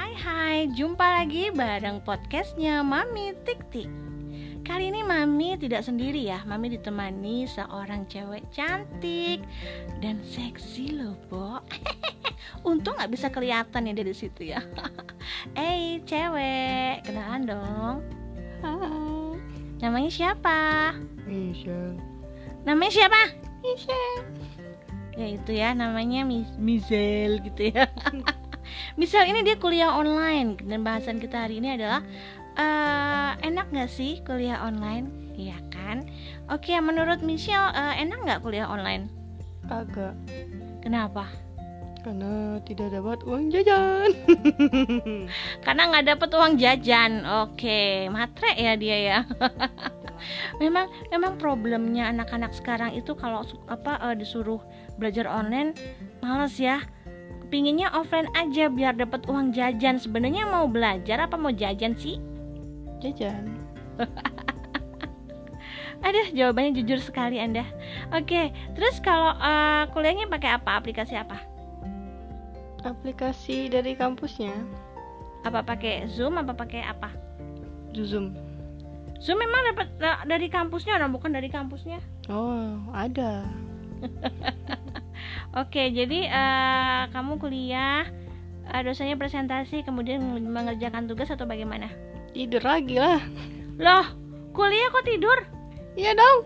Hai, jumpa lagi bareng podcastnya Mami Tik Tik Kali ini Mami tidak sendiri ya Mami ditemani seorang cewek cantik dan seksi loh, Bo Untung nggak bisa kelihatan ya dari situ ya Eh, cewek, kenalan dong Hai, Namanya siapa? Michelle. Namanya siapa? Michelle. Ya itu ya namanya Mi- Mizel gitu ya. Misal ini dia kuliah online dan bahasan kita hari ini adalah eh, enak nggak sih kuliah online? Iya kan? Oke, menurut Michelle eh, enak nggak kuliah online? Kagak, Kenapa? karena tidak dapat uang jajan. Karena nggak dapet uang jajan. Oke, matre ya dia ya. memang memang problemnya anak-anak sekarang itu kalau su- apa eh, disuruh belajar online males ya. Pinginnya offline aja biar dapat uang jajan. Sebenarnya mau belajar apa mau jajan sih? Jajan. Aduh, jawabannya jujur sekali Anda. Oke, terus kalau eh, kuliahnya pakai apa? Aplikasi apa? Aplikasi dari kampusnya, Apa pakai Zoom apa pakai apa? Zoom. Zoom memang dapat eh, dari kampusnya orang bukan dari kampusnya. Oh, ada. Oke, jadi eh, kamu kuliah eh, dosanya presentasi kemudian mengerjakan tugas atau bagaimana? Tidur lagi lah. Loh, kuliah kok tidur? Iya dong.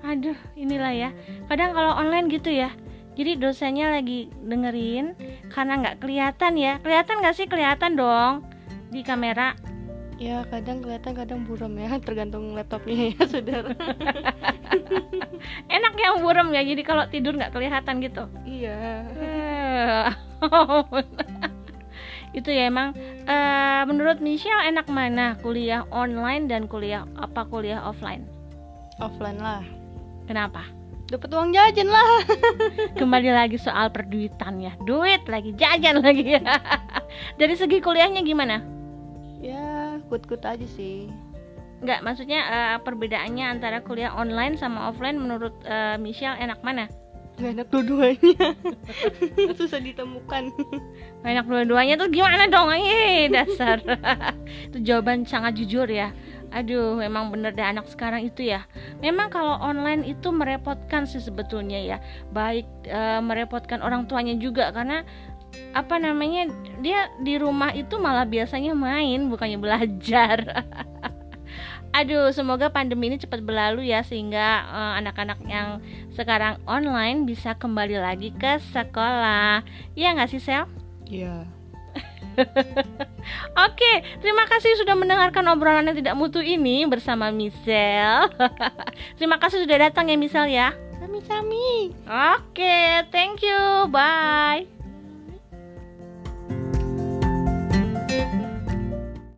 Aduh, inilah ya. Kadang kalau online gitu ya. Jadi dosennya lagi dengerin karena nggak kelihatan ya. Kelihatan nggak sih? Kelihatan dong di kamera. Ya kadang kelihatan kadang buram ya, tergantung laptopnya ya saudara. Enak yang buram ya. Jadi kalau tidur nggak kelihatan gitu. iya. Eh, itu ya emang eh, menurut Michelle enak mana kuliah online dan kuliah apa kuliah offline Offline lah. kenapa Dapat uang jajan lah. kembali lagi soal perduitan ya duit lagi jajan lagi ya dari segi kuliahnya gimana Ya, kut-kut aja sih. Enggak, maksudnya eh, perbedaannya antara kuliah online sama offline menurut eh, Michelle enak mana Gak enak dua-duanya. Susah ditemukan. enak dua-duanya tuh gimana dong Ih, dasar itu jawaban sangat jujur ya aduh memang bener deh anak sekarang itu ya memang kalau online itu merepotkan sih sebetulnya ya baik eh, merepotkan orang tuanya juga karena apa namanya dia di rumah itu malah biasanya main bukannya belajar aduh semoga pandemi ini cepat berlalu ya sehingga eh, anak-anak yang sekarang online bisa kembali lagi ke sekolah ya nggak sih Sel? Iya. Oke, terima kasih sudah mendengarkan obrolan yang tidak mutu ini bersama Michelle. terima kasih sudah datang ya Michelle ya. Sami-sami. Oke, thank you.